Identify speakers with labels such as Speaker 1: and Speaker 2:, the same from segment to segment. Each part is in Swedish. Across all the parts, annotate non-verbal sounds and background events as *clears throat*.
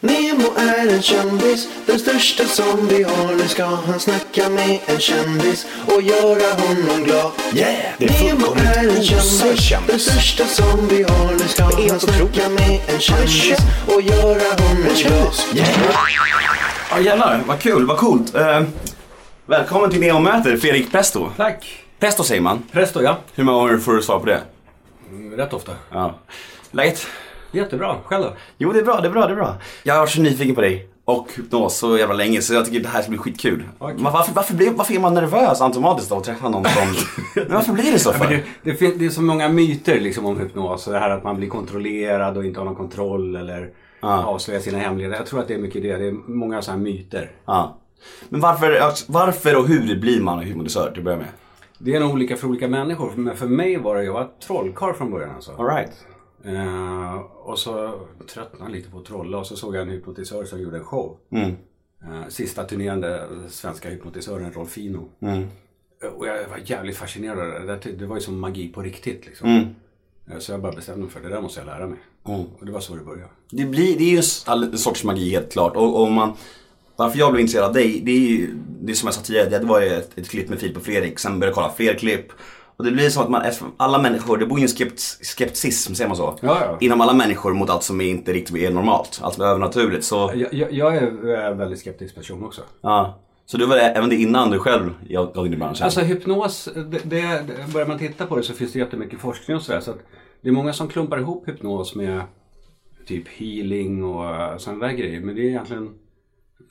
Speaker 1: Nemo är en kändis, den största som vi har. Nu ska han snacka med en kändis och göra honom glad.
Speaker 2: Yeah! Det är
Speaker 1: Nemo
Speaker 2: fullkomligt
Speaker 1: är en kändis,
Speaker 2: okändis.
Speaker 1: den största som vi har. Nu ska
Speaker 2: Det är
Speaker 1: han
Speaker 2: helt
Speaker 1: snacka
Speaker 2: otroligt.
Speaker 1: med en kändis och göra honom glad.
Speaker 2: Ja jävlar, vad kul, vad coolt. Eh, välkommen till Neo möter Fredrik Presto.
Speaker 3: Tack!
Speaker 2: Presto säger man.
Speaker 3: Presto ja.
Speaker 2: Hur många gånger får du svar på det?
Speaker 3: Rätt ofta.
Speaker 2: Ja. Läget?
Speaker 3: Jättebra. Själv då?
Speaker 2: Jo det är bra, det är bra, det är bra. Jag har varit så nyfiken på dig och hypnos så jävla länge så jag tycker det här ska bli skitkul.
Speaker 3: Okej.
Speaker 2: Men varför, varför, blir, varför är man nervös automatiskt av att träffa någon *laughs* som... Men varför blir det så
Speaker 3: Ja, men
Speaker 2: för?
Speaker 3: det, det, fin- det är så många myter liksom, om hypnos. Det här att man blir kontrollerad och inte har någon kontroll eller
Speaker 2: Ja.
Speaker 3: avslöjar sina hemligheter. Jag tror att det är mycket det. Det är många sådana här myter.
Speaker 2: Ja. Men varför, varför och hur blir man hypnotisör till att börja med?
Speaker 3: Det är nog olika för olika människor. Men för mig var det, jag var trollkarl från början alltså.
Speaker 2: Alright.
Speaker 3: Eh, och så tröttnade jag lite på att trolla och så såg jag en hypnotisör som gjorde en show. Eh, sista turnerande svenska hypnotisören Rolfino. Eh, och jag var jävligt fascinerad av det. Det, det var ju som magi på riktigt liksom. Eh, så jag bara bestämde mig för det där måste jag lära mig. Och det var så det började.
Speaker 2: Det, blir, det är ju en s- all- en sorts magi helt klart. Och, och man, varför jag blev intresserad av dig, det är ju, det är som jag sa tidigare, det var ju ett, ett klipp med Filip och Fredrik, sen började jag kolla fler klipp. Och det blir som att man, alla människor, det bor ju en skept, skepticism, säger man så?
Speaker 3: Ja, ja.
Speaker 2: Inom alla människor mot allt som inte riktigt är normalt, allt som är övernaturligt. Så, ja.
Speaker 3: Jag, jag, jag är en väldigt skeptisk person också.
Speaker 2: så du var det, även det innan du själv gav dig in i branschen?
Speaker 3: Alltså hypnos, det, det, börjar man titta på det så finns det jättemycket forskning och sådär. Så att det är många som klumpar ihop hypnos med typ healing och eh, sådana där grejer. Men det är egentligen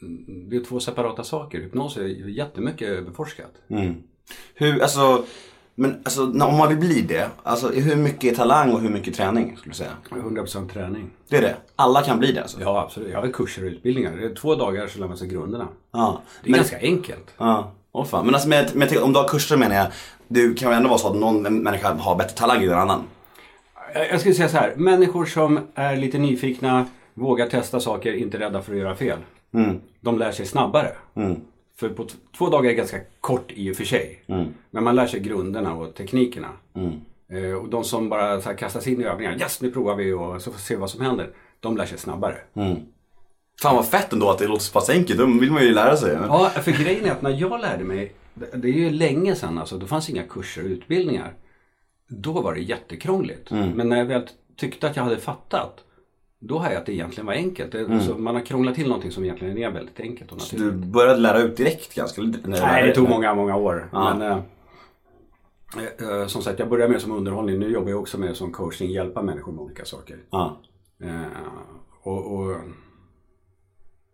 Speaker 3: mm, det är två separata saker. Hypnos är ju jättemycket överforskat.
Speaker 2: hur, alltså, men alltså, när- om man vill bli det, alltså, hur mycket är talang och hur mycket träning skulle du säga?
Speaker 3: 100% träning.
Speaker 2: Det är det. Alla kan bli det alltså?
Speaker 3: Ja, absolut. Jag har kurser och utbildningar. Det är två dagar så lär man sig grunderna.
Speaker 2: Ja.
Speaker 3: Det är ganska enkelt.
Speaker 2: Ja, åh fan. Men alltså med, med, om du har kurser menar jag, du kan väl ändå vara så att någon människa har bättre talang än en annan?
Speaker 3: Eh, Jag jag skulle säga så här. Människor som är lite nyfikna, vågar testa saker, inte rädda för att göra fel. De lär sig snabbare. För på t- två dagar är ganska kort i och för sig. Men man lär sig grunderna och teknikerna. Eh, och de som bara så här, kastas in i övningar. Yes, nu provar vi och så får vi se vad som händer. De lär sig snabbare.
Speaker 2: Fan vad fett ändå att det låter så pass enkelt, då vill man ju lära sig.
Speaker 3: Ja, för grejen är att när jag lärde mig, det- det är ju länge sedan alltså, då fanns inga kurser och utbildningar. Då var det jättekrångligt. Men när jag väl tyckte att jag hade fattat, då har jag att det egentligen var enkelt. Det, så man har krånglat till någonting som egentligen är väldigt enkelt. Och
Speaker 2: Du
Speaker 3: naturligt.
Speaker 2: började lära ut direkt ganska? när du
Speaker 3: Nej,
Speaker 2: lärde
Speaker 3: det
Speaker 2: dig.
Speaker 3: tog många, många år. Men, eh, eh, eh, som sagt, jag började med som underhållning. Nu jobbar jag också med som coaching, hjälpa människor med olika saker.
Speaker 2: Ja.
Speaker 3: Eh, och, och,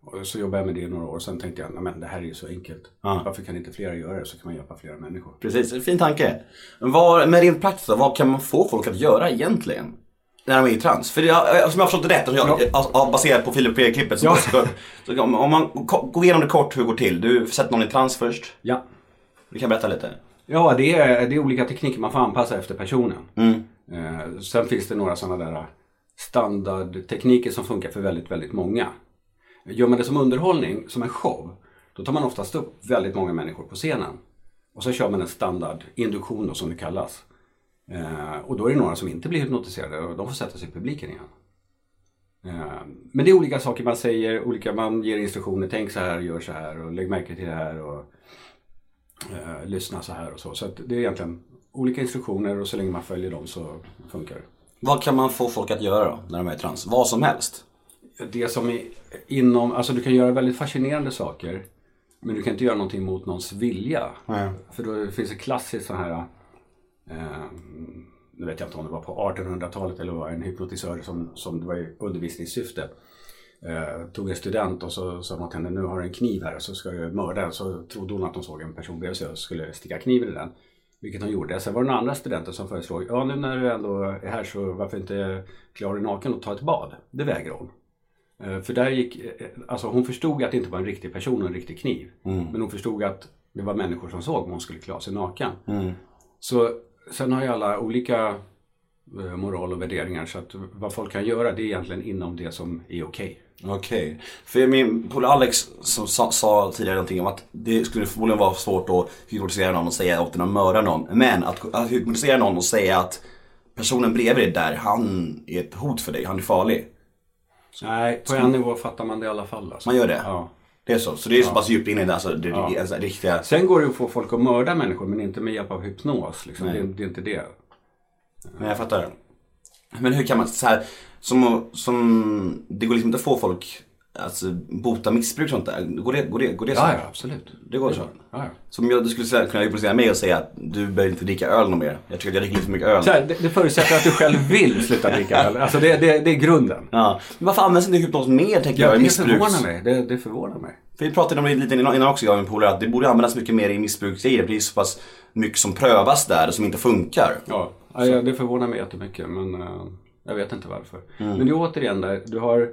Speaker 3: och så jobbade jag med det i några år. Sen tänkte jag, "Nej, men det här är ju så enkelt.
Speaker 2: Ja.
Speaker 3: Varför kan inte fler göra det? Så kan man hjälpa flera människor.
Speaker 2: Precis, fin tanke. Vad, men rent praktiskt då, vad kan man få folk att göra egentligen? När de är i trans. För jag, som jag har förstått det rätt, och jag, ja. baserat på Filip och klippet så,
Speaker 3: Ja.
Speaker 2: så, så om om man ko- går igenom det kort hur det går till. Du sätter någon i trans först.
Speaker 3: Ja,
Speaker 2: Du kan berätta lite.
Speaker 3: ja det, är, det är olika tekniker man får anpassa efter personen. Eh, sen finns det några sådana där standardtekniker som funkar för väldigt, väldigt många. Gör man det som underhållning, som en show, då tar man oftast upp väldigt många människor på scenen. Och så kör man en standardinduktion då, som det kallas. Eh, och då är det några som inte blir hypnotiserade och de får sätta sig i publiken igen. Eh, Men det är olika saker man säger, olika, man ger instruktioner. Tänk så här, gör så här och lägg märke till det här. Och, eh, lyssna så här och så. Så att det är egentligen olika instruktioner och så länge man följer dem så funkar det.
Speaker 2: Vad kan man få folk att göra då, när de är i trans? Vad som helst?
Speaker 3: Det som är inom, alltså du kan göra väldigt fascinerande saker men du kan inte göra någonting mot någons vilja. För då finns det klassiskt så här, eh, nu vet jag inte om det var på 1800-talet eller var en hypnotisör som, som det var i undervisningssyfte. Eh, tog en student och så sa man till henne, nu har du en kniv här så ska du mörda den. Så trodde hon att hon såg en person bredvid sig och skulle sticka kniven i den. Vilket hon gjorde. Sen var det några andra studenter som föreslog, ja nu när du ändå är här så varför inte klä av dig naken och ta ett bad? Det vägrade hon. Eh, För där gick, eh, alltså hon förstod att det inte var en riktig person och en riktig kniv.
Speaker 2: Mm.
Speaker 3: Men hon förstod att det var människor som såg om hon skulle klä av sig naken.
Speaker 2: Mm.
Speaker 3: Så sen har ju alla olika eh, moral och värderingar så att vad folk kan göra det är egentligen inom det som är okej.
Speaker 2: Okej. För min polare Alex som sa, sa tidigare någonting om att det skulle förmodligen vara svårt att hypnotisera någon och säga åt den att mörda någon. Men att, att hypnotisera någon och säga att personen bredvid dig där, han är ett hot för dig, han är farlig.
Speaker 3: Nej, på en nivå fattar man det i alla fall. Alltså.
Speaker 2: Man gör det?
Speaker 3: Ja.
Speaker 2: Det är så? Så det är så pass djupt inne i det, alltså, det, det är alltså, riktiga...
Speaker 3: Sen går det ju att få folk att mörda människor men inte med hjälp av hypnos. Liksom.
Speaker 2: Nej.
Speaker 3: Det, är- det är inte det.
Speaker 2: Men jag fattar. Men hur kan man, så här, som, som, det går liksom inte att få folk alltså, bota missbruk och sånt där. Går det, går det, går det så?
Speaker 3: Ja, ja absolut.
Speaker 2: Det går så?
Speaker 3: Ja, ja.
Speaker 2: Som jag, du skulle säga- kunna hypnotisera mig och säga att du behöver inte dricka öl någon mer. Jag tycker att jag dricker lite för mycket öl.
Speaker 3: Så här, det, det förutsätter att du själv vill sluta dricka öl. Alltså det, det, det är grunden.
Speaker 2: Ja. Men varför används inte hypnos mer tänker jag i
Speaker 3: Det
Speaker 2: missbruks...
Speaker 3: förvånar mig. Det, det förvånar mig.
Speaker 2: För vi pratade om det lite innan innan också jag och min polare att det borde användas mycket mer i missbruksgrejer. för Det är så pass mycket som prövas där och som inte funkar.
Speaker 3: Ja, ja, ja, det förvånar mig jättemycket men eh, jag vet inte varför.
Speaker 2: Mm.
Speaker 3: Men det är återigen där, du har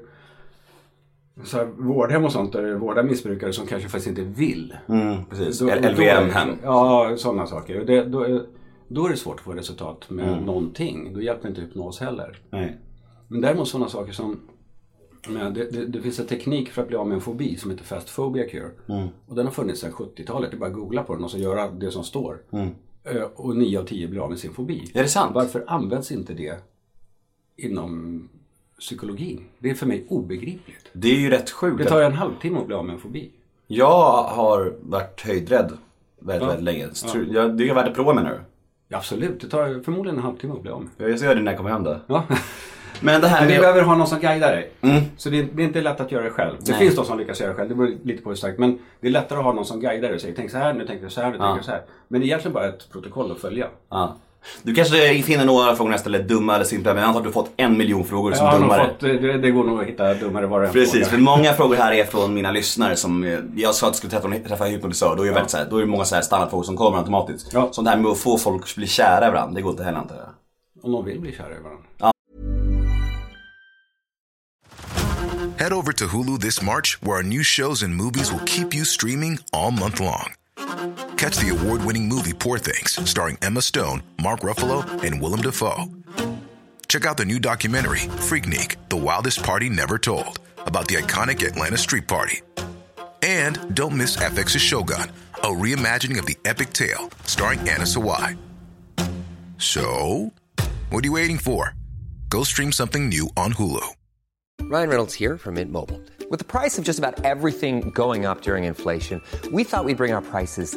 Speaker 3: så här, vårdhem och sånt där du vårdar missbrukare som kanske faktiskt inte vill.
Speaker 2: Mm, precis.
Speaker 3: Då- då-
Speaker 2: LVM-hem.
Speaker 3: Ja, sådana saker. Och Det, då, är- då är det svårt att få resultat med
Speaker 2: Mm.
Speaker 3: någonting. Då hjälper inte hypnos heller.
Speaker 2: Nej.
Speaker 3: Men däremot sådana saker som men det, det, det finns en teknik för att bli av med en fobi som heter Fast Phobia Cure. Och den har funnits sedan 70-talet. Det är bara att googla på den och så göra det som står. Eh, Och 9 av 10 blir av med sin fobi.
Speaker 2: Är det sant?
Speaker 3: Varför används inte det inom psykologin? Det är för mig obegripligt.
Speaker 2: Det är ju rätt sjukt.
Speaker 3: Det
Speaker 2: att-
Speaker 3: tar ju en halvtimme att bli av med en fobi.
Speaker 2: Jag har varit höjdrädd väldigt, väldigt länge. Så tror- Jag, det är värt att prova med nu.
Speaker 3: Ja, absolut, det tar förmodligen en halvtimme att bli av med.
Speaker 2: Jag ska göra det när jag kommer hem då.
Speaker 3: Ja.
Speaker 2: Men det Mm. här
Speaker 3: Men vi
Speaker 2: med...
Speaker 3: behöver ha någon som guidar dig. Så det, det är inte lätt att göra det själv. Det finns de som lyckas göra det själv, det beror lite på hur starkt. Men det är lättare att ha någon som guidar dig och säger tänk så här, nu tänker du så här, nu tänker du så här. Men det är egentligen bara ett protokoll att följa.
Speaker 2: Ja. Du kanske finner några frågor nästa eller dumma eller simpla men jag antar att du har fått en miljon frågor som
Speaker 3: Jag har nog
Speaker 2: dummare.
Speaker 3: fått, det, det går nog att hitta dummare var och en
Speaker 2: Precis, för
Speaker 3: fråga.
Speaker 2: många frågor här är från mina lyssnare som eh, jag sa att jag skulle träffa, en- träffa en hypnotisör. Då är, det väldigt, så här, då är det många så här standardfrågor som kommer automatiskt.
Speaker 3: Ja.
Speaker 2: Sånt här med att få folk att bli kära i varandra, det går inte heller antar jag.
Speaker 3: Om de vill bli kära i varandra.
Speaker 4: Head over to Hulu this March, where our new shows and movies will keep you streaming all month long. Catch the award winning movie Poor Things, starring Emma Stone, Mark Ruffalo, and Willem Dafoe. Check out the new documentary, Freaknik The Wildest Party Never Told, about the iconic Atlanta Street Party. And don't miss FX's Shogun, a reimagining of the epic tale, starring Anna Sawai. So, what are you waiting for? Go stream something new on Hulu.
Speaker 5: Ryan Reynolds here from Mint Mobile. With the price of just about everything going up during inflation, we thought we'd bring our prices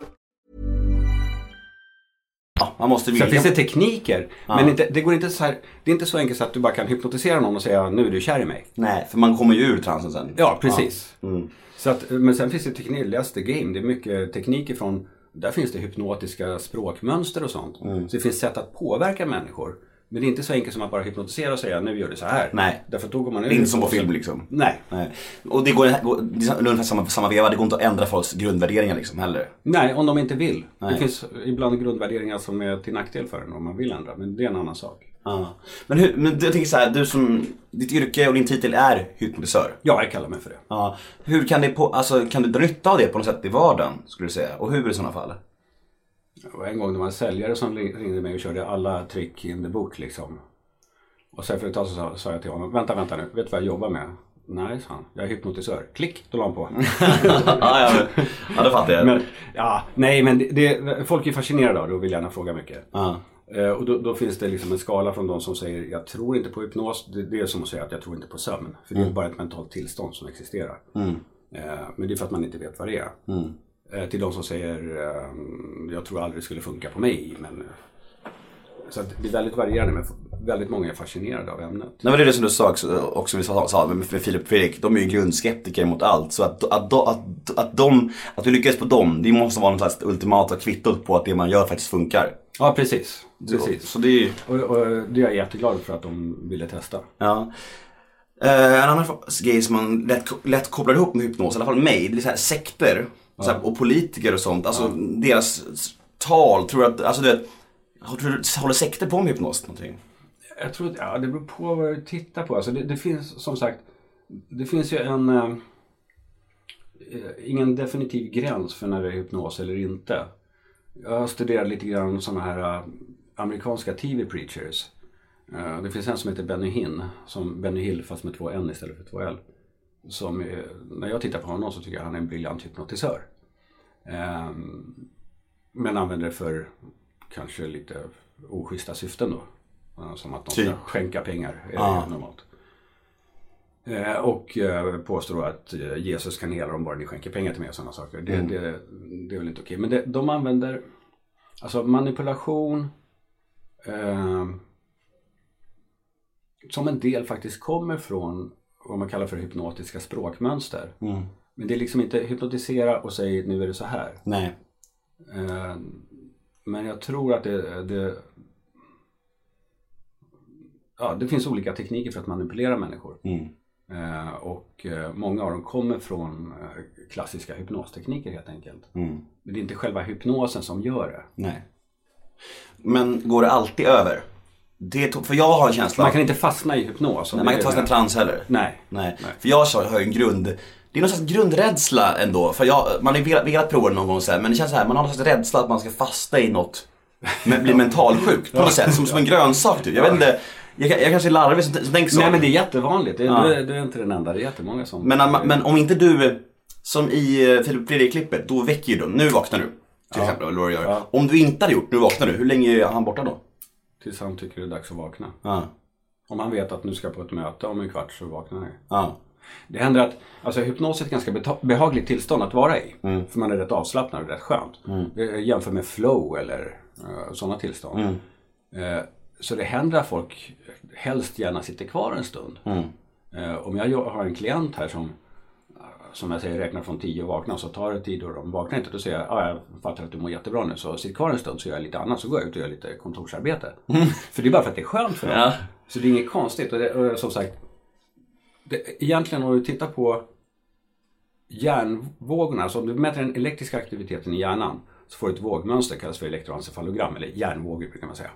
Speaker 2: Ja, man måste
Speaker 3: Sen
Speaker 2: vilja.
Speaker 3: finns det tekniker. Men inte, det, går inte så här, det är inte så enkelt så att du bara kan hypnotisera någon och säga nu är du kär i mig.
Speaker 2: Nej, för man kommer ju ur transen sen.
Speaker 3: Ja, precis.
Speaker 2: Mm.
Speaker 3: Så att, men sen finns det teknik, läs the game. Det är mycket teknik ifrån, där finns det hypnotiska språkmönster och sånt.
Speaker 2: Mm.
Speaker 3: Så det finns sätt att påverka människor. Men det är inte så enkelt som att bara hypnotisera och säga nu gör du så här.
Speaker 2: Nej.
Speaker 3: Därför att då går man
Speaker 2: Det är inte som på film liksom.
Speaker 3: Nej.
Speaker 2: Nej. Och det går, det är ungefär samma, samma veva, det går inte att ändra folks grundvärderingar liksom heller.
Speaker 3: Nej, om de inte vill.
Speaker 2: Nej.
Speaker 3: Det finns ibland grundvärderingar som är till nackdel för en om man vill ändra. Men det är en annan sak.
Speaker 2: Ja. Men, hur, men jag tänker så här, du som, ditt yrke och din titel är hypnotisör.
Speaker 3: Ja, jag kallar mig för det.
Speaker 2: Ja. Hur kan, det på, alltså, kan du dra nytta av det på något sätt i vardagen skulle du säga? Och hur i sådana fall?
Speaker 3: Det var en gång det var en säljare som li- ringde mig och körde alla trick in the book liksom. Och sen för ett tag så sa- sa jag till honom, vänta, vänta nu, vet du vad jag jobbar med? Nej, sa han, jag är hypnotisör. Klick, då la han på.
Speaker 2: ja, ja, men- ja, det fattar jag.
Speaker 3: men, ja, nej, men det, det, folk är fascinerade av det och vill gärna fråga mycket.
Speaker 2: Ja.
Speaker 3: Eh, och då, då finns det liksom en skala från de som säger, jag tror inte på hypnos. Det, det är som att säga att jag tror inte på sömn. För det är bara ett mentalt tillstånd som existerar. Eh, men det är för att man inte vet vad det är. Eh, till de som säger, ehm, jag tror aldrig det skulle funka på mig. Men... eh, Så att det är väldigt varierande, men f- väldigt många är fascinerade av ämnet.
Speaker 2: Nej, men det är det som du sa också, och som vi sa, sa med, med Filip och Fredrik, de är ju grundskeptiker mot allt. Så att, att, att, att, att, de, att du lyckas på dem, det måste vara någon slags ultimata kvittot på att det man gör faktiskt funkar.
Speaker 3: Ja, precis. precis.
Speaker 2: Så det är ju...
Speaker 3: Och, och det är jag jätteglad för att de ville testa.
Speaker 2: Ja. Eh, en annan grej som man lätt, lätt kopplar ihop med hypnos, i alla fall mig, det är så här sekter så här, och politiker och sånt. Alltså deras s- tal, tror jag att, alltså du vet, har- tror du- håller sekter på med hypnos någonting?
Speaker 3: Jag tror att ja, det beror på vad du tittar på. Alltså det, det finns som sagt, det finns ju en... Eh, ingen definitiv gräns för när det är hypnos eller inte. Jag har studerat lite grann sådana här eh, amerikanska TV-preachers. Eh, Det finns en som heter Benny Hinn, som Benny Hill fast med två N istället för två L. Som, eh, när jag tittar på honom så tycker jag han är en briljant hypnotisör. Eh, Men använder det för kanske lite oschyssta syften då. Eh, Som att de ska
Speaker 2: Typ.
Speaker 3: skänka pengar, är det ju normalt. Eh, Och eh, påstår då att eh, Jesus kan hela dem bara ni skänker pengar till mig och sådana saker. Det, det, det är väl inte okej. Men det, de använder alltså manipulation eh, som en del faktiskt kommer från vad man kallar för hypnotiska språkmönster. Men det är liksom inte hypnotisera och säg nu är det så här.
Speaker 2: Nej.
Speaker 3: Eh, Men jag tror att det, det, ja, det finns olika tekniker för att manipulera människor.
Speaker 2: Mm.
Speaker 3: Eh, Och eh, många av dem kommer från eh, klassiska hypnostekniker helt enkelt.
Speaker 2: Mm.
Speaker 3: Men det är inte själva hypnosen som gör det.
Speaker 2: Nej. Men går det alltid över? Det, to- för jag har en känsla
Speaker 3: Man kan inte fastna i hypnos. om
Speaker 2: Nej, man kan
Speaker 3: det
Speaker 2: inte
Speaker 3: är-
Speaker 2: fastna i trans heller.
Speaker 3: Nej.
Speaker 2: Nej. För jag har har ju en grund, det är någon slags grundrädsla ändå. För jag, man har ju velat, velat prova det någon gång så här, men det känns så här, man har någon slags rädsla att man ska fastna i något, men
Speaker 3: *laughs*
Speaker 2: bli mentalsjuk på något sätt. Som, som en grönsak typ. Jag vet inte, jag, kan- jag kanske är larvig som, som tänker så.
Speaker 3: Nej men det är jättevanligt. Det- Du, är, du är inte den enda. Det är jättemånga som...
Speaker 2: Men, om- men om inte du, som i eh, Filip Fredrik-klippet, då väcker ju de. Nu vaknar du. Till exempel, eller vad du gör. Om du inte hade gjort, nu vaknar du. Hur länge är han borta då?
Speaker 3: Tills han tycker det är dags att vakna.
Speaker 2: Ja.
Speaker 3: Om han vet att nu ska jag på ett möte om en kvart så vaknar han ju.
Speaker 2: Ja.
Speaker 3: Det händer att, alltså hypnos är ett ganska beta- behagligt tillstånd att vara i. För man är rätt avslappnad och rätt skönt. Eh, Jämfört med flow eller uh, sådana tillstånd. Eh, så det händer att folk helst gärna sitter kvar en stund. Eh, om jag jo- har en klient här som eh, som jag säger räknar från 10 och vaknar så tar det tid och de vaknar inte. Då säger jag, ah, jag fattar att du mår jättebra nu så sitt kvar en stund så gör jag lite annat. Så går jag ut och gör lite kontorsarbete. *laughs* För det är bara för att det är skönt för dem.
Speaker 2: Ja.
Speaker 3: Så det är inget konstigt. Och, det, och som sagt, det, egentligen om du tittar på hjärnvågorna, alltså om du mäter den elektriska aktiviteten i hjärnan så får du ett vågmönster, kallas för elektroencefalogram, eller hjärnvågor brukar man säga.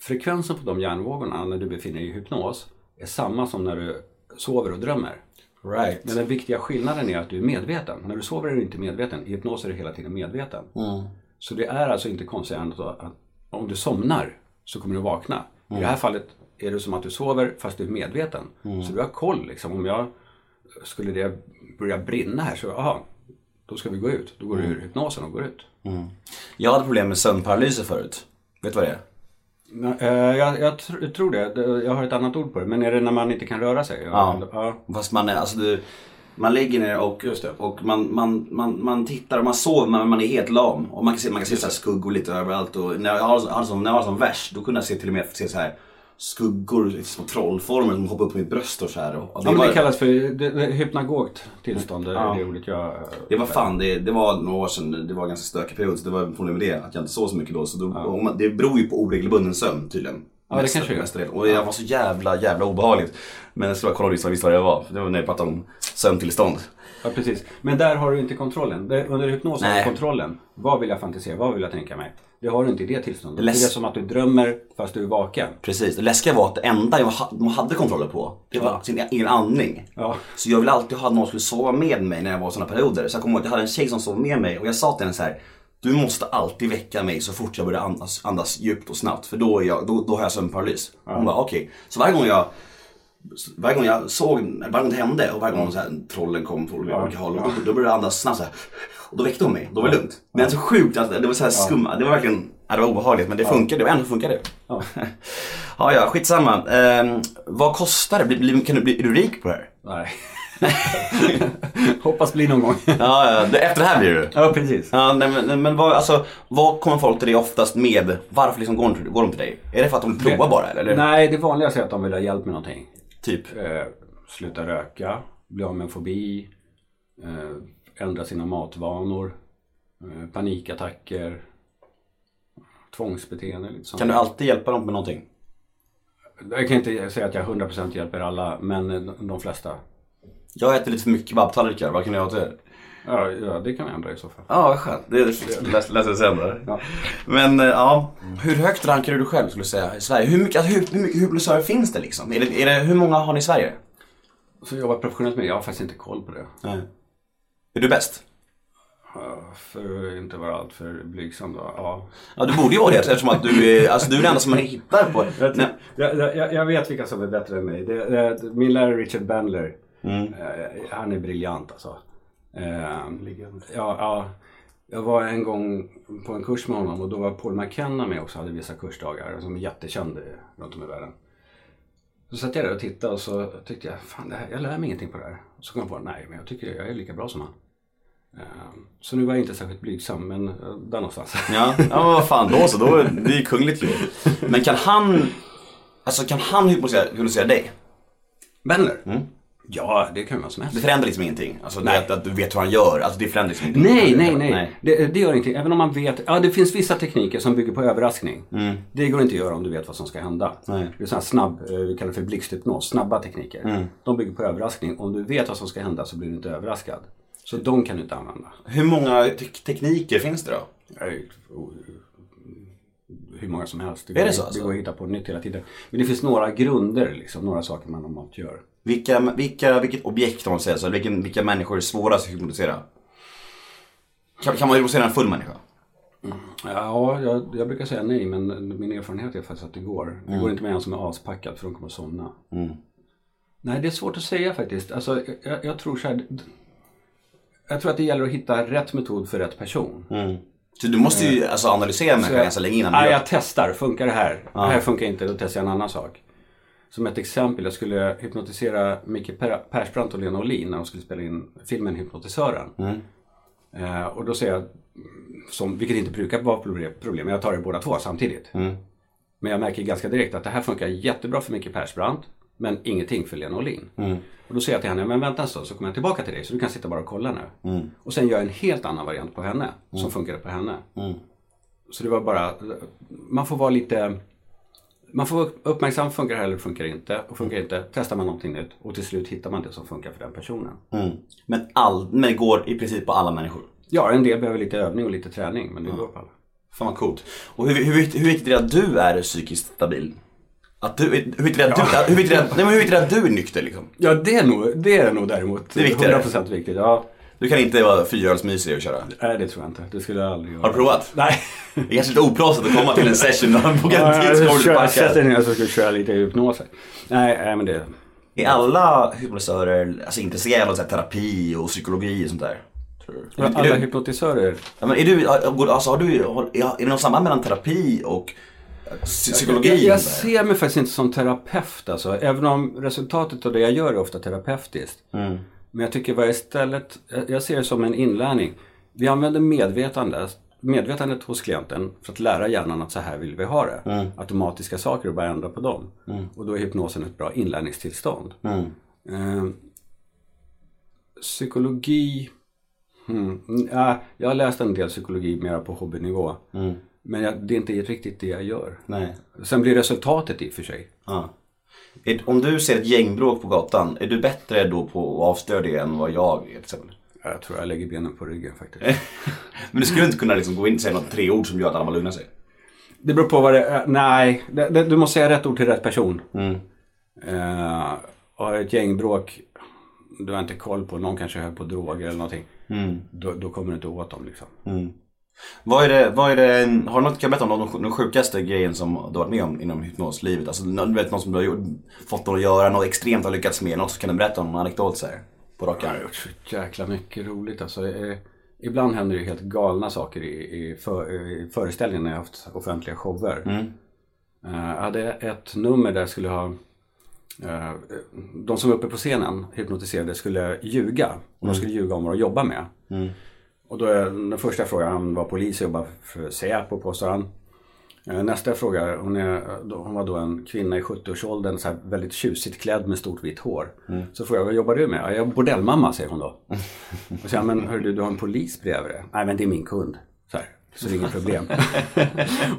Speaker 3: Frekvensen på de hjärnvågorna när du befinner dig i hypnos är samma som när du sover och drömmer.
Speaker 2: Right.
Speaker 3: Men den viktiga skillnaden är att du är medveten. När du sover är du inte medveten. I hypnos är du hela tiden medveten. Så det är alltså inte konstigt än att att om du somnar så kommer du vakna. I det här fallet är det som att du sover fast du är medveten. Så du har koll. Liksom. Om jag skulle det börja brinna här så, aha, då ska vi gå ut. Då går du ur hypnosen och går ut.
Speaker 2: Jag hade problem med sömnparalyser förut. Vet du vad det är?
Speaker 3: Nej, eh, Jag, jag tr- tror det. Det- Jag har ett annat ord på det. Men är det när man inte kan röra sig?
Speaker 2: Ja. Fast man är, alltså du, man ligger ner och, och man, man, man, man tittar och man sover men man är helt lam. Och man kan se, man kan se så här skuggor lite överallt och när jag har, har som, när jag var som värst då kunde jag se till och med se så här skuggor, små trollformer som hoppade upp på mitt bröst och så här. Och, och
Speaker 3: Ja,
Speaker 2: det,
Speaker 3: men det
Speaker 2: var,
Speaker 3: kallas för det, det, hypnagogt tillstånd. Det är det ordet jag... eh,
Speaker 2: det var fan, det, det var några år sedan, det var en ganska stökig period så det var problem med det, att jag inte sov så mycket då. Så då om man, det beror ju på oregelbunden sömn tydligen.
Speaker 3: det
Speaker 2: Mest-
Speaker 3: kanske det gör.
Speaker 2: mestadels. Och jag var så jävla, jävla obehagligt. Men jag skulle kolla och visste vad det var. Det var när jag pratade om sömntillstånd.
Speaker 3: Ja, precis. Men där har du inte kontrollen. Där, under hypnosen har
Speaker 2: Nej.
Speaker 3: du kontrollen. Vad vill jag fantisera? Vad vill jag tänka mig? Det har du inte i det tillståndet.
Speaker 2: Läs-
Speaker 3: Det är som att du drömmer fast du är vaken.
Speaker 2: Precis, det läskiga var att det enda jag ha- de hade kontroll på, det var sin e-, egen andning.
Speaker 3: Ja.
Speaker 2: Så jag ville alltid ha att någon skulle sova med mig när jag var i sådana perioder. Så jag kommer ihåg att jag hade en tjej som sov med mig och jag sa till henne så här. Du måste alltid väcka mig så fort jag börjar andas, andas djupt och snabbt för då, är jag, då, då har jag sömnparalys. Hon bara okej. Så varje gång jag varje gång jag såg, varje gång det hände och varje gång så här, trollen kom från olika håll, då, då började jag andas snabbt så här, Och då väckte hon mig, då var det lugnt. Men så sjukt, alltså, det var så här skumma, det var verkligen, ja, det var obehagligt men det funkade och ändå funkade det. Ja. *laughs* ja, skitsamma. Ehm, vad kostar det? Blir- blir- kan du bli, är du rik på det här? *laughs*
Speaker 3: Nej. Hoppas bli någon gång.
Speaker 2: Ja, ja, det- efter det här blir du.
Speaker 3: ja, precis.
Speaker 2: Ja, nej, men, nej, men vad, alltså, vad kommer folk till dig oftast med? Varför liksom går, de till- går de till dig? Är det för att de provar bara eller?
Speaker 3: Nej, det vanligaste är att de vill ha hjälp med någonting.
Speaker 2: Typ.
Speaker 3: Eh, sluta röka, bli av med en fobi, eh, ändra sina matvanor, eh, panikattacker, tvångsbeteende. Lite sånt.
Speaker 2: Kan du alltid hjälpa dem med någonting?
Speaker 3: Jag kan inte säga att jag 100% hjälper alla, men eh, de flesta.
Speaker 2: Jag äter lite för mycket babbtallrikar, vad kan jag göra åt det?
Speaker 3: Ja, ja det kan vi ändra i så fall.
Speaker 2: Ja, vad skönt. Det läser jag senare.
Speaker 3: Ja.
Speaker 2: Men eh, ja, hur högt rankar du dig själv skulle du säga i Sverige? Hur mycket, alltså, hur, hur mycket hypnotisörer finns det liksom? Är det, är det, hur många har ni i Sverige?
Speaker 3: Så jag jobbar professionellt med det. Jag har faktiskt inte koll på det.
Speaker 2: Är du bäst?
Speaker 3: Ja, För att inte vara alltför blygsam då. Ja.
Speaker 2: Ja, du borde ju vara det eftersom att du är, alltså, du är den enda som man hittar på. Nej,
Speaker 3: Jag, jag- jag, jag vet vilka som är bättre än mig. Det, det, min lärare Richard Bandler.
Speaker 2: Mm.
Speaker 3: Eh, han är briljant alltså. Eh, ja, ja, jag var en gång på en kurs med honom och då var Paul McKenna med också. Hade vissa kursdagar som är jättekänd eh, runt om i världen. Så satt jag där och tittade och så tyckte jag, fan det här, jag lär mig ingenting på det här. Så kom jag på, nej men jag tycker jag är lika bra som han. Eh, Så nu var jag inte särskilt blygsam, men eh, där någonstans.
Speaker 2: Ja, ja men vad fan då så. Då, det är ju kungligt ju. Men kan han, alltså kan han hypnotisera, hypnotisera dig?
Speaker 3: Bandler?
Speaker 2: Mm.
Speaker 3: Ja, det kan ju vem som helst.
Speaker 2: Det förändrar liksom ingenting. Alltså det att, att du vet hur han gör. Alltså det förändrar liksom ingenting.
Speaker 3: Nej, nej, nej. Det, det gör ingenting. Även om man vet. Ja, det finns vissa tekniker som bygger på överraskning.
Speaker 2: Mm.
Speaker 3: Det går inte att göra om du vet vad som ska hända. Det är sån här snabb, eh, vi kallar det för blixthypnos, snabba tekniker.
Speaker 2: Mm.
Speaker 3: De bygger på överraskning. Om du vet vad som ska hända så blir du inte överraskad. Så de kan du inte använda.
Speaker 2: Hur många te- tekniker finns det då?
Speaker 3: Nej, o- Hur många som helst.
Speaker 2: Är
Speaker 3: går,
Speaker 2: det så, alltså?
Speaker 3: det går att hitta på nytt hela tiden. Men det finns några grunder, liksom, några saker man normalt gör.
Speaker 2: Vilka, vilka, vilket objekt om man säger så, eller vilken, vilka människor är svårast att hypnotisera? Kan, kan man hypnotisera en full människa?
Speaker 3: Ja, jag, jag brukar säga nej, men min erfarenhet är faktiskt att det går. Det går inte med en som är aspackad för de kommer att somna. Nej, det är svårt att säga faktiskt. Alltså, jag- jag, jag tror så här. Jag tror att det gäller att hitta rätt metod för rätt person.
Speaker 2: Så du måste ju alltså, analysera en människa ganska länge innan du
Speaker 3: Ja,
Speaker 2: gör
Speaker 3: jag testar. Funkar det här? Det här funkar inte. Då testar jag en annan sak. Som ett exempel, jag skulle hypnotisera Micke per- Persbrandt och Lena Olin när de skulle spela in filmen Hypnotisören.
Speaker 2: Mm.
Speaker 3: Eh, och då säger jag, som, vilket inte brukar vara proble- problem, jag tar det båda två samtidigt.
Speaker 2: Mm.
Speaker 3: Men jag märker ganska direkt att det här funkar jättebra för Micke Persbrandt men ingenting för Lena Olin.
Speaker 2: Mm.
Speaker 3: Och då säger jag till henne, men vänta en stund så kommer jag tillbaka till dig så du kan sitta bara och kolla nu.
Speaker 2: Mm.
Speaker 3: Och sen gör jag en helt annan variant på henne som funkade på henne. Så det var bara, man får vara lite, man får vara uppmärksam, funkar det här eller funkar det inte? Och funkar det inte, testar man någonting nytt och till slut hittar man det som funkar för den personen.
Speaker 2: Mm. Men, all, men det går i princip på alla människor.
Speaker 3: Ja, en del behöver lite övning och lite träning, men det går på alla.
Speaker 2: Fan vad coolt. Och hur, hur, hur viktigt är det att du är psykiskt stabil? Att du, hur viktigt är det att du, hur viktigt är det, att- nej, men hur viktigt är det att du är nykter liksom?
Speaker 3: Ja, det är nog, det är nog däremot
Speaker 2: är viktigare.
Speaker 3: 100% viktigt. Ja,
Speaker 2: Du kan inte vara fyrhjulsmysig och köra.
Speaker 3: nej, det tror jag inte. Det skulle jag aldrig göra.
Speaker 2: Har du provat?
Speaker 3: Nej.
Speaker 2: Det är kanske lite oproffsigt att komma till en session och boka en tid så
Speaker 3: jag
Speaker 2: kommer du
Speaker 3: kör- sätter
Speaker 2: packa.
Speaker 3: ner så ska jag köra lite hypnos. här. Nej, nej, men det...
Speaker 2: Är alla hypnotisörer alltså, intresserade av så här, terapi och psykologi och sånt där? Tror du? Är
Speaker 3: Alla
Speaker 2: du- är du-
Speaker 3: hypnotisörer
Speaker 2: Ja, men är du, alltså har du, har- är det något samband mellan terapi och psy- psykologi?
Speaker 3: Jag, jag
Speaker 2: och sånt där?
Speaker 3: ser mig faktiskt inte som terapeut alltså. Även om resultatet av det jag gör är ofta terapeutiskt. Men jag tycker vad jag istället, jag- jag ser det som en inlärning. Vi använder medvetande, medvetandet hos klienten för att lära hjärnan att så här vill vi ha det. Automatiska saker och bara ändra på dem. Och då är hypnosen ett bra inlärningstillstånd. Eh, psykologi, hmm, ja, jag har läst en del psykologi mera på hobbynivå. Men jag, det är inte riktigt det jag gör.
Speaker 2: Nej.
Speaker 3: Sen blir resultatet i och för sig.
Speaker 2: Ja. Är- Om du ser ett gängbråk på gatan, är du bättre då på att avstöra det än vad jag är till exempel?
Speaker 3: Jag tror jag lägger benen på ryggen faktiskt.
Speaker 2: Men du skulle inte kunna liksom gå in och säga något tre ord som gör att alla bara lugnar sig?
Speaker 3: Det beror på vad det är. Nej, det, det, du måste säga rätt ord till rätt person. Eh, har ett gängbråk, du har inte koll på, någon kanske höll på droger eller någonting. Då, då kommer du inte åt dem liksom.
Speaker 2: Vad är det, vad är det, har du något, kan du berätta om någon- den sjukaste grejen som du har varit med om inom hypnoslivet? Alltså nå- du vet något som du har gjort, fått att göra, något extremt har lyckats med, något som kan du berätta om, någon anekdot så här, på rak arm?
Speaker 3: Så jäkla mycket roligt alltså. Eh, ibland händer det helt galna saker i, i, för, i föreställningen när jag haft offentliga shower. Eh, jag hade ett nummer där jag skulle ha eh, de som var uppe på scenen, hypnotiserade, skulle ljuga. Och de skulle ljuga om vad de jobbar med. Och då, är- den första frågan, han var polis och jobbade för Säpo påstår han. Eh, Nästa fråga, hon, är, då- hon var då en kvinna i 70-årsåldern, så här väldigt tjusigt klädd med stort vitt hår. Så frågar jag, vad jobbar du med? "Ja, Jag är bordellmamma, säger hon då. *laughs* Och så säger jag, men hörru du, du har en polis bredvid dig? Nej, men det är min kund. Så, här, så det är inget problem.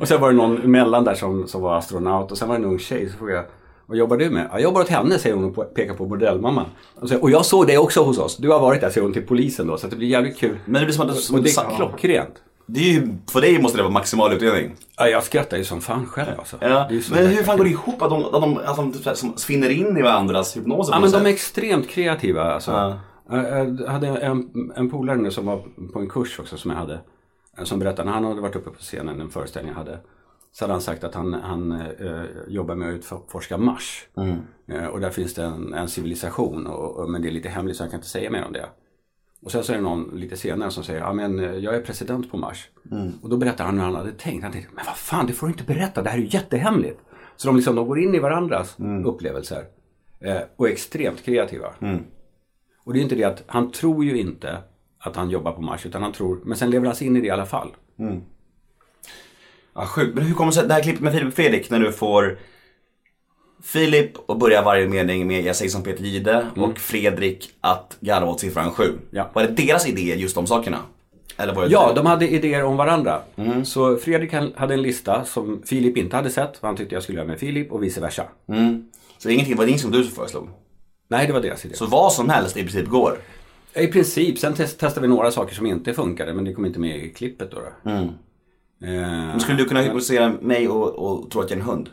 Speaker 3: och sen var det någon mellan där som, som var astronaut och sen var det en ung tjej, så frågade jag, vad jobbar du med? "Ja, Jag jobbar åt henne, säger hon och pekar på bordellmamman. Och, så, och jag såg dig också hos oss, du har varit där, säger hon till polisen då, så att det blir jävligt kul.
Speaker 2: Men det blir som att, som
Speaker 3: och det
Speaker 2: sa-
Speaker 3: är klockrent.
Speaker 2: det är ju, för dig måste det vara maximal utdelning.
Speaker 3: Ja, jag skrattar ju som fan själv alltså.
Speaker 2: Ja.
Speaker 3: Det är ju så
Speaker 2: Men hur
Speaker 3: jäkla
Speaker 2: fan går det ihop att de, att de, att de, att de, typ så här, som svinner in i varandras hypnoser på
Speaker 3: Ja,
Speaker 2: något
Speaker 3: men de är
Speaker 2: sätt?
Speaker 3: extremt kreativa alltså. Jag jag hade en, en polare nu som var på en kurs också som jag hade. eh, Som berättade, när han hade varit uppe på scenen, en föreställning jag hade. Så hade han sagt att han, han eh, jobbar med att utforska Mars. Eh, och där finns det en, en civilisation, och, och, men det är lite hemligt så jag kan inte säga mer om det. Och sen så är det någon lite senare som säger, ja men eh, jag är president på Mars. Och då berättar han hur han hade tänkt. Han tänkte, men vad fan det får du inte berätta, det här är ju jättehemligt. Så de, liksom, de går in i varandras upplevelser. Eh, och är extremt kreativa.
Speaker 2: Mm.
Speaker 3: Och det är inte det att, han tror ju inte att han jobbar på Mars, utan han tror, men sen lever han sig in i det i alla fall.
Speaker 2: Ja, sjukt. Men hur kommer det sig, det här klippet med Filip och Fredrik när du får Filip och börjar varje mening med jag säger som Peter Gide och Fredrik att garva åt siffran 7.
Speaker 3: Mm. Ja.
Speaker 2: Var det deras idé just de sakerna? Eller var det
Speaker 3: Ja, de hade idéer om varandra.
Speaker 2: Mm.
Speaker 3: Så Fredrik hade en lista som Filip inte hade sett, för han tyckte jag skulle göra med Filip och vice versa.
Speaker 2: Mm. Så det är ingenting, var det ingenting som du föreslog?
Speaker 3: Nej, det var deras idé.
Speaker 2: Så vad som helst i princip går?
Speaker 3: Ja, I princip. Sen test, testade vi några saker som inte funkade, men det kom inte med i klippet då. då.
Speaker 2: Mm.
Speaker 3: Eh,
Speaker 2: Men skulle du kunna hypnotisera mig och, och tro att jag är en hund?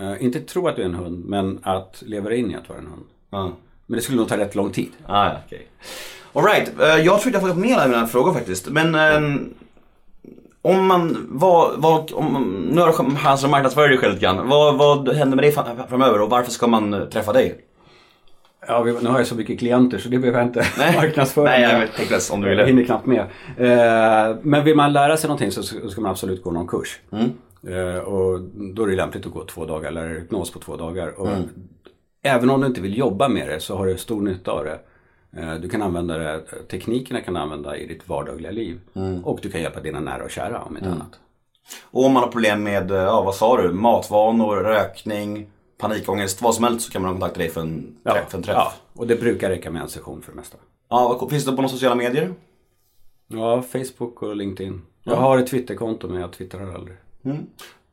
Speaker 3: eh, inte tro att du är en hund, men att leva dig in i att vara en hund. Men det skulle nog ta rätt lång tid.
Speaker 2: Ah, ja, okej. Alright, eh, jag tror inte jag har fått med alla mina frågor faktiskt. Men
Speaker 3: Mm.
Speaker 2: ehm, om man, vad, vad, om, nu har du chansen att marknadsföra dig själv lite grann. Vad, vad händer med dig fram- framöver och varför ska man eh, träffa
Speaker 3: *laughs*
Speaker 2: dig?
Speaker 3: Ja, vi, nu har jag så mycket klienter så det behöver jag inte *laughs* marknadsföra.
Speaker 2: Nej, jag vet inte ens om du
Speaker 3: Jag
Speaker 2: ville.
Speaker 3: hinner knappt med. Eh, men vill man lära sig någonting så ska ska man absolut gå någon kurs.
Speaker 2: Mm.
Speaker 3: Eh, och då är det lämpligt att gå två dagar, eller hypnos på två dagar. Och
Speaker 2: Mm.
Speaker 3: Även om du inte vill jobba med det så har du stor nytta av det. Eh, du kan använda det, teknikerna kan du använda i ditt vardagliga liv.
Speaker 2: Mm.
Speaker 3: Och du kan hjälpa dina nära och kära om inte annat.
Speaker 2: Och om man har problem med, eh, ja vad sa du, matvanor, rökning, panikångest, vad som helst så kan man kontakta dig för en träff. För en träff.
Speaker 3: ja,
Speaker 2: Ja.
Speaker 3: och det brukar räcka med en session för det mesta.
Speaker 2: vad co- finns det på några sociala medier?
Speaker 3: Ja, Facebook och LinkedIn. Jag har ett Twitterkonto men jag twittrar aldrig.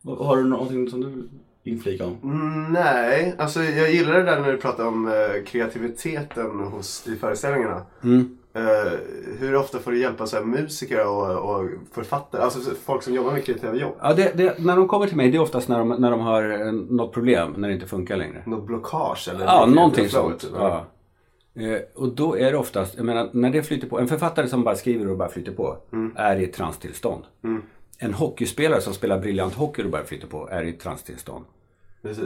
Speaker 2: Vad- Har du någonting som du inflikar om?
Speaker 3: Mm.
Speaker 6: Nej, alltså jag gillar det där när du pratar om eh, kreativiteten hos, i föreställningarna.
Speaker 3: Mm.
Speaker 6: Eh, hur ofta får du hjälpa så här, musiker och, och författare? Alltså så- folk som jobbar med kreativa jobb.
Speaker 3: Ja, det, det, när de kommer till mig, det är oftast när de, när de har eh, något problem, när det inte funkar längre.
Speaker 6: Något blockage eller?
Speaker 3: Ja,
Speaker 6: något
Speaker 3: någonting
Speaker 6: flowet,
Speaker 3: sånt.
Speaker 6: eller?
Speaker 3: Ja. Eh, Och då är det oftast, jag menar, när det flyter på. En författare som bara skriver och bara flyter på är i ett transtillstånd. En hockeyspelare som spelar briljant hockey och bara flyter på är i ett transtillstånd.
Speaker 6: Precis.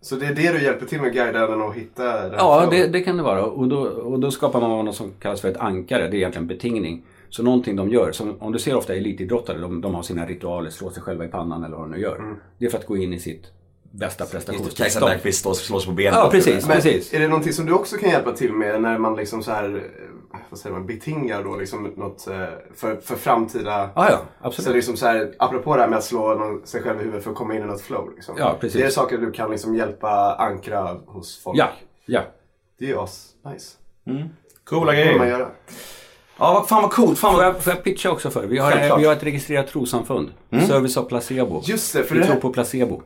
Speaker 6: Så det är det du hjälper till med, guida den och hitta den här
Speaker 3: Eh. Ja,
Speaker 6: flowen.
Speaker 3: det, det kan det vara. Och då, och då skapar man något som kallas för ett ankare. Det är egentligen betingning. Så någonting de gör, som om du ser ofta elitidrottare, de, de har sina ritualer, slår sig själva i pannan eller vad de nu gör. Det är för att gå in i Mm. sitt bästa
Speaker 2: Kajsa
Speaker 3: prestationstillstånd.
Speaker 2: Bergqvist slår slår sig på benet.
Speaker 3: Ja, Ah, precis.
Speaker 6: Men
Speaker 3: precis.
Speaker 6: Är det någonting som du också kan hjälpa till med när man liksom så här, eh, vad säger man, betingar då liksom något eh, för, för framtida...
Speaker 3: Ja, Ah, ja, absolut.
Speaker 6: Så liksom så här, apropå det här med att slå någon, sig själv i huvudet för att komma in i något flow. Liksom.
Speaker 3: Ja, precis.
Speaker 6: Det är saker du kan liksom hjälpa ankra hos folk.
Speaker 3: Ja, ja.
Speaker 6: Det är ju as nice.
Speaker 2: Coola
Speaker 6: Det kan man
Speaker 2: grejer.
Speaker 6: göra.
Speaker 2: Ja, vad- fan vad coolt. Fan
Speaker 3: Oh Får
Speaker 2: vad...
Speaker 3: jag, får jag pitcha också för? Vi har,
Speaker 2: Självklart.
Speaker 3: vi har ett registrerat trossamfund. Service av placebo.
Speaker 6: Mm. Just det, för
Speaker 3: vi
Speaker 6: det här-
Speaker 3: tror på placebo.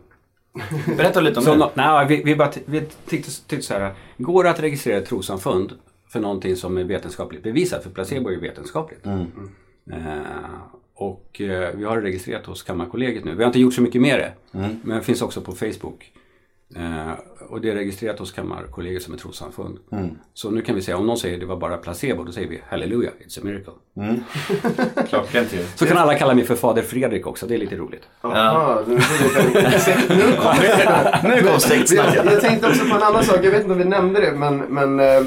Speaker 2: Berätta lite om
Speaker 3: Så,
Speaker 2: det.
Speaker 3: nå- nej, vi, vi, bara t- vi tyckte, tyckte så här. Går det att registrera ett trossamfund för någonting som är vetenskapligt bevisat? För placebo är ju vetenskapligt.
Speaker 6: Mm.
Speaker 3: Eh, och eh, vi har det registrerat hos Kammarkollegiet nu. Vi har inte gjort så mycket med det.
Speaker 6: Mm.
Speaker 3: Men det finns också på Facebook. Eh, och det är registrerat hos Kammarkollegiet som ett trossamfund.
Speaker 6: Mm.
Speaker 3: Så nu kan vi säga, om någon säger det var bara placebo, då säger vi halleluja, it's a miracle.
Speaker 2: Klockrent ju.
Speaker 3: Så kan alla kalla mig för Fader Fredrik också, det är lite roligt.
Speaker 6: Aha, nu blir det väldigt- *laughs* nu kom det.
Speaker 2: Nu kom sexsnacket.
Speaker 6: Jag, jag tänkte också på en annan sak, jag vet inte om vi nämnde det men, men eh,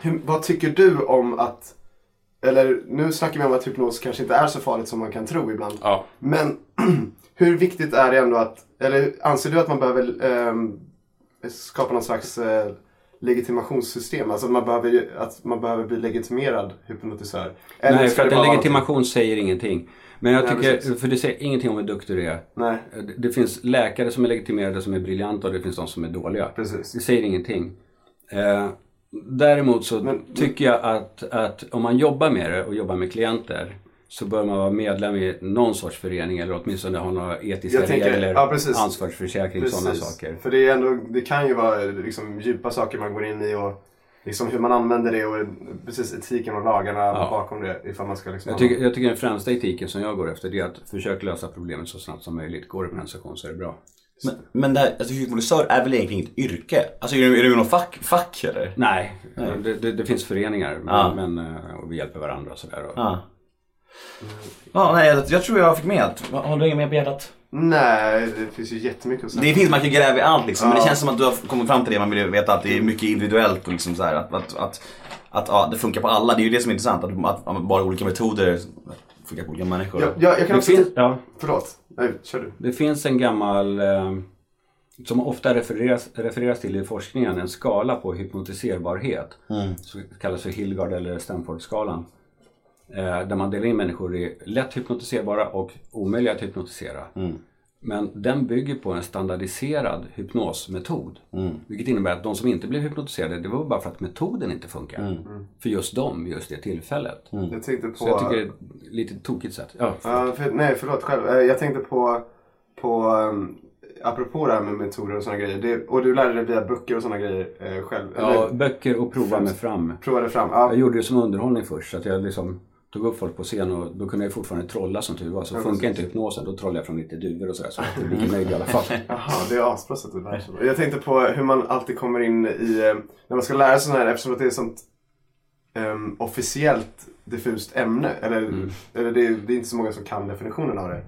Speaker 6: hur, vad tycker du om att, eller nu snackar vi om att hypnos kanske inte är så farligt som man kan tro ibland.
Speaker 3: Ja.
Speaker 6: Men *clears throat* hur viktigt är det ändå att, eller anser du att man behöver ehm, skapa någon slags eh, legitimationssystem? Alltså att man behöver, ju- att man behöver bli legitimerad hypnotisör? Eller
Speaker 3: Nej, för
Speaker 6: ska det
Speaker 3: att en
Speaker 6: bara vara
Speaker 3: legitimation säger ingenting. Men jag
Speaker 6: Nej,
Speaker 3: tycker,
Speaker 6: precis.
Speaker 3: för det säger ingenting om hur duktig du är.
Speaker 6: Nej.
Speaker 3: Det- Det finns läkare som är legitimerade som är briljanta och det finns de som är dåliga.
Speaker 6: Precis.
Speaker 3: Det säger ingenting. Eh, däremot så tycker jag att, att om man jobbar med det och jobbar med klienter så bör man vara medlem i någon sorts förening eller åtminstone ha några etiska
Speaker 6: Jag tänker-
Speaker 3: regler,
Speaker 6: ja, precis.
Speaker 3: ansvarsförsäkring, sådana saker.
Speaker 6: För det, är ändå, det kan ju vara liksom, djupa saker man går in i och liksom, hur man använder det och precis etiken och lagarna bakom det. Ifall man ska liksom,
Speaker 3: Jag tycker, jag tycker den främsta etiken som jag går efter det är att försök lösa problemet så snabbt som möjligt. Går det på en session så är det bra.
Speaker 2: Men, men det här, alltså, husmodusör är väl egentligen inget yrke? Alltså är du, är du någon fack, fack eller?
Speaker 3: Nej, Det, det, det finns föreningar men,
Speaker 2: Ja.
Speaker 3: men, eh, och vi hjälper varandra och sådär. Och,
Speaker 2: Ja. Ja, nej, jag, jag tror jag fick med allt. Har du inget mer på hjärtat?
Speaker 6: Nej, det finns ju jättemycket att säga.
Speaker 2: Det finns, man kan gräva i allt liksom. Men det känns som att du har kommit fram till det man vill veta. Att det är mycket individuellt och liksom så här, att, att, att, att ja, det funkar på alla. Det är ju det som är intressant. Att, att, att bara olika metoder funkar på olika människor.
Speaker 6: Ja, jag, jag kan
Speaker 3: det,
Speaker 6: också...
Speaker 3: finns, ja,
Speaker 6: Förlåt. Nej, kör du.
Speaker 3: det finns en gammal, eh, som ofta refereras, refereras till i forskningen, en skala på hypnotiserbarhet. Som kallas för Hilgard eller Stanford-skalan. Eh, där man delar in människor i lätt hypnotiserbara och omöjliga att hypnotisera. Men den bygger på en standardiserad hypnosmetod. Vilket innebär att de som inte blev hypnotiserade, det var bara för att metoden inte funkar. För just dem, just det tillfället.
Speaker 6: Jag tänkte på...
Speaker 3: Så jag tycker det är ett lite tokigt sätt. Ja,
Speaker 6: Ja, för, nej, förlåt själv. Eh, Jag tänkte på, på um, apropå det här med metoder och sådana grejer. Det, och du lärde dig via böcker och sådana grejer eh, själv.
Speaker 3: ja,
Speaker 6: Eller,
Speaker 3: böcker och prova mig fram.
Speaker 6: provade fram. Ja,
Speaker 3: Jag gjorde det som underhållning först. Så att jag liksom tog upp folk på scen och då kunde jag fortfarande trolla som tur var. Så funkar inte hypnosen, då trollade jag från lite duvor och sådär. Så att *laughs* jag blev nöjd i alla fall.
Speaker 6: Jaha, det är asbra sätt att lära sig. Jag tänkte på hur man alltid kommer in i, eh, när man ska lära sig sådana här, eftersom att det är sånt um, officiellt diffust ämne. Eller,
Speaker 3: Mm.
Speaker 6: eller det, är, det är inte så många som kan definitionen av det.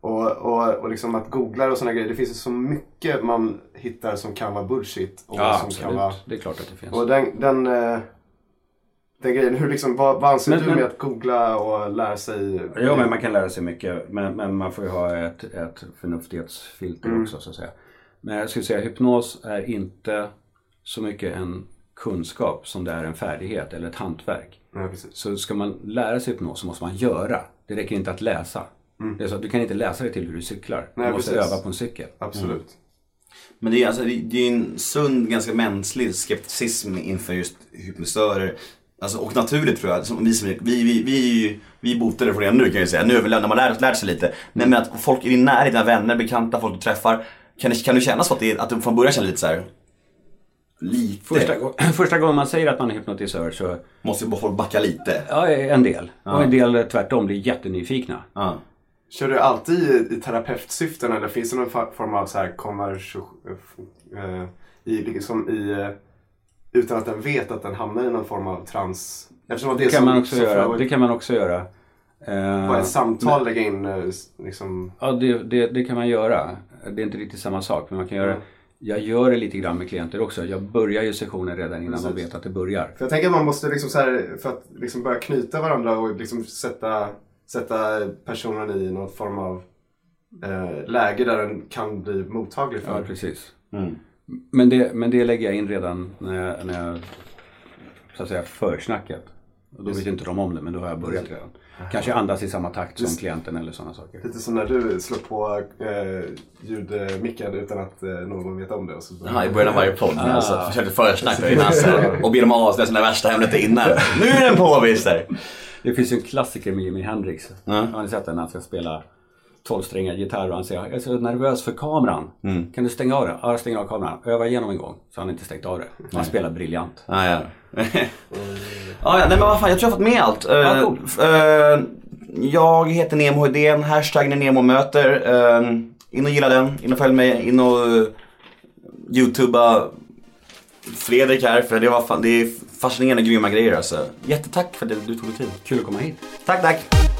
Speaker 6: Och, och, och liksom att googla och sådana grejer. Det finns ju så mycket man hittar som kan vara bullshit. Och
Speaker 3: Ja,
Speaker 6: som
Speaker 3: absolut.
Speaker 6: kan vara
Speaker 3: Det är klart att det finns.
Speaker 6: Och den, den, eh, den grejen, hur liksom, vad, vad anser
Speaker 3: Men-
Speaker 6: du
Speaker 3: men-
Speaker 6: med att googla och lära sig?
Speaker 3: Ja, men man kan lära sig mycket. Men, men man får ju ha ett, ett förnuftighetsfilter också så att säga. Men jag skulle säga hypnos är inte så mycket en kunskap som det är en färdighet eller ett hantverk.
Speaker 6: Nej, precis.
Speaker 3: Så ska man lära sig hypnos så måste man göra. Det räcker inte att läsa. Det är så att du kan inte läsa dig till hur du cyklar.
Speaker 6: Nej,
Speaker 3: du måste
Speaker 6: precis.
Speaker 3: öva på en cykel. Mm.
Speaker 6: Absolut.
Speaker 2: Men det är ju alltså, det- det är ju en sund, ganska mänsklig skepticism inför just hypnotisörer. Alltså, och naturligt tror jag. Som vi, som, vi, vi, vi, vi botade från det nu kan jag ju säga. Nu är väl när man lär, lär sig lite. Men, men att folk i din närhet, dina vänner, bekanta, folk du träffar. Kan, det- kan du känna så att, det, är- att du från början känner lite så här. Lite?
Speaker 3: Första, gång- *clears throat* första gången man säger att man är hypnotisör så,
Speaker 2: Måste ju bara folk backa lite.
Speaker 3: ja en del. Och en del tvärtom blir jättenyfikna.
Speaker 2: Ja.
Speaker 6: Kör du alltid i, i terapeutsyften eller finns det någon fa- form av så här konversation eh, i, liksom i, eh, utan att den vet att den hamnar i någon form av trans? Eftersom att det är
Speaker 3: Det kan
Speaker 6: så,
Speaker 3: man också
Speaker 6: så
Speaker 3: göra.
Speaker 6: frågor-
Speaker 3: Det kan man också göra. Eh,
Speaker 6: Bara ett samtal lägga in eh, s- liksom.
Speaker 3: Ja, det, det, det kan man göra. Det är inte riktigt samma sak, men man kan göra Jag gör det lite grann med klienter också. Jag börjar ju sessionen redan innan de vet att det börjar.
Speaker 6: För jag tänker att man måste liksom så här, för att liksom börja knyta varandra och liksom sätta, sätta personen i någon form av eh, läge där den kan bli mottaglig
Speaker 3: Ja,
Speaker 6: för.
Speaker 3: precis. Men, det, men det lägger jag in redan när jag, när jag så att säga, försnacket. Och då vet inte de om det, men då har jag börjat redan. Kanske andas i samma takt som klienten eller sådana saker.
Speaker 6: Lite som när du slår på eh, ljudmickar utan att eh, någon vet om det. Och så
Speaker 2: Ja, i början av varje podd. Ah. Alltså, försökte försnacka innan så här, och be dem avslöja sina värsta hemligheter innan. Nu är den på Wister!
Speaker 3: Det finns ju en klassiker med Jimi Hendrix. Har ni sett den när han ska spela tolvsträngad gitarr och han säger jag är så nervös för kameran. Kan du stänga av den? Ja, jag stänger av kameran. Öva igenom en gång. Så han har inte stängt av det. Han spelar briljant.
Speaker 2: Ah, ja. *laughs* ah, ja, nej men vad fan, jag tror jag har fått med allt. Eh,
Speaker 3: Ja, cool.
Speaker 2: f- eh, jag heter Nemo Hedén, hashtaggen är Nemo möter. Eh, in och gilla den, in och följ mig, in och uh, youtuba Fredrik här för det var fan, det är fascinerande grymma grejer alltså. Jättetack för att du tog dig tid.
Speaker 3: Kul att komma hit.
Speaker 2: Tack, tack.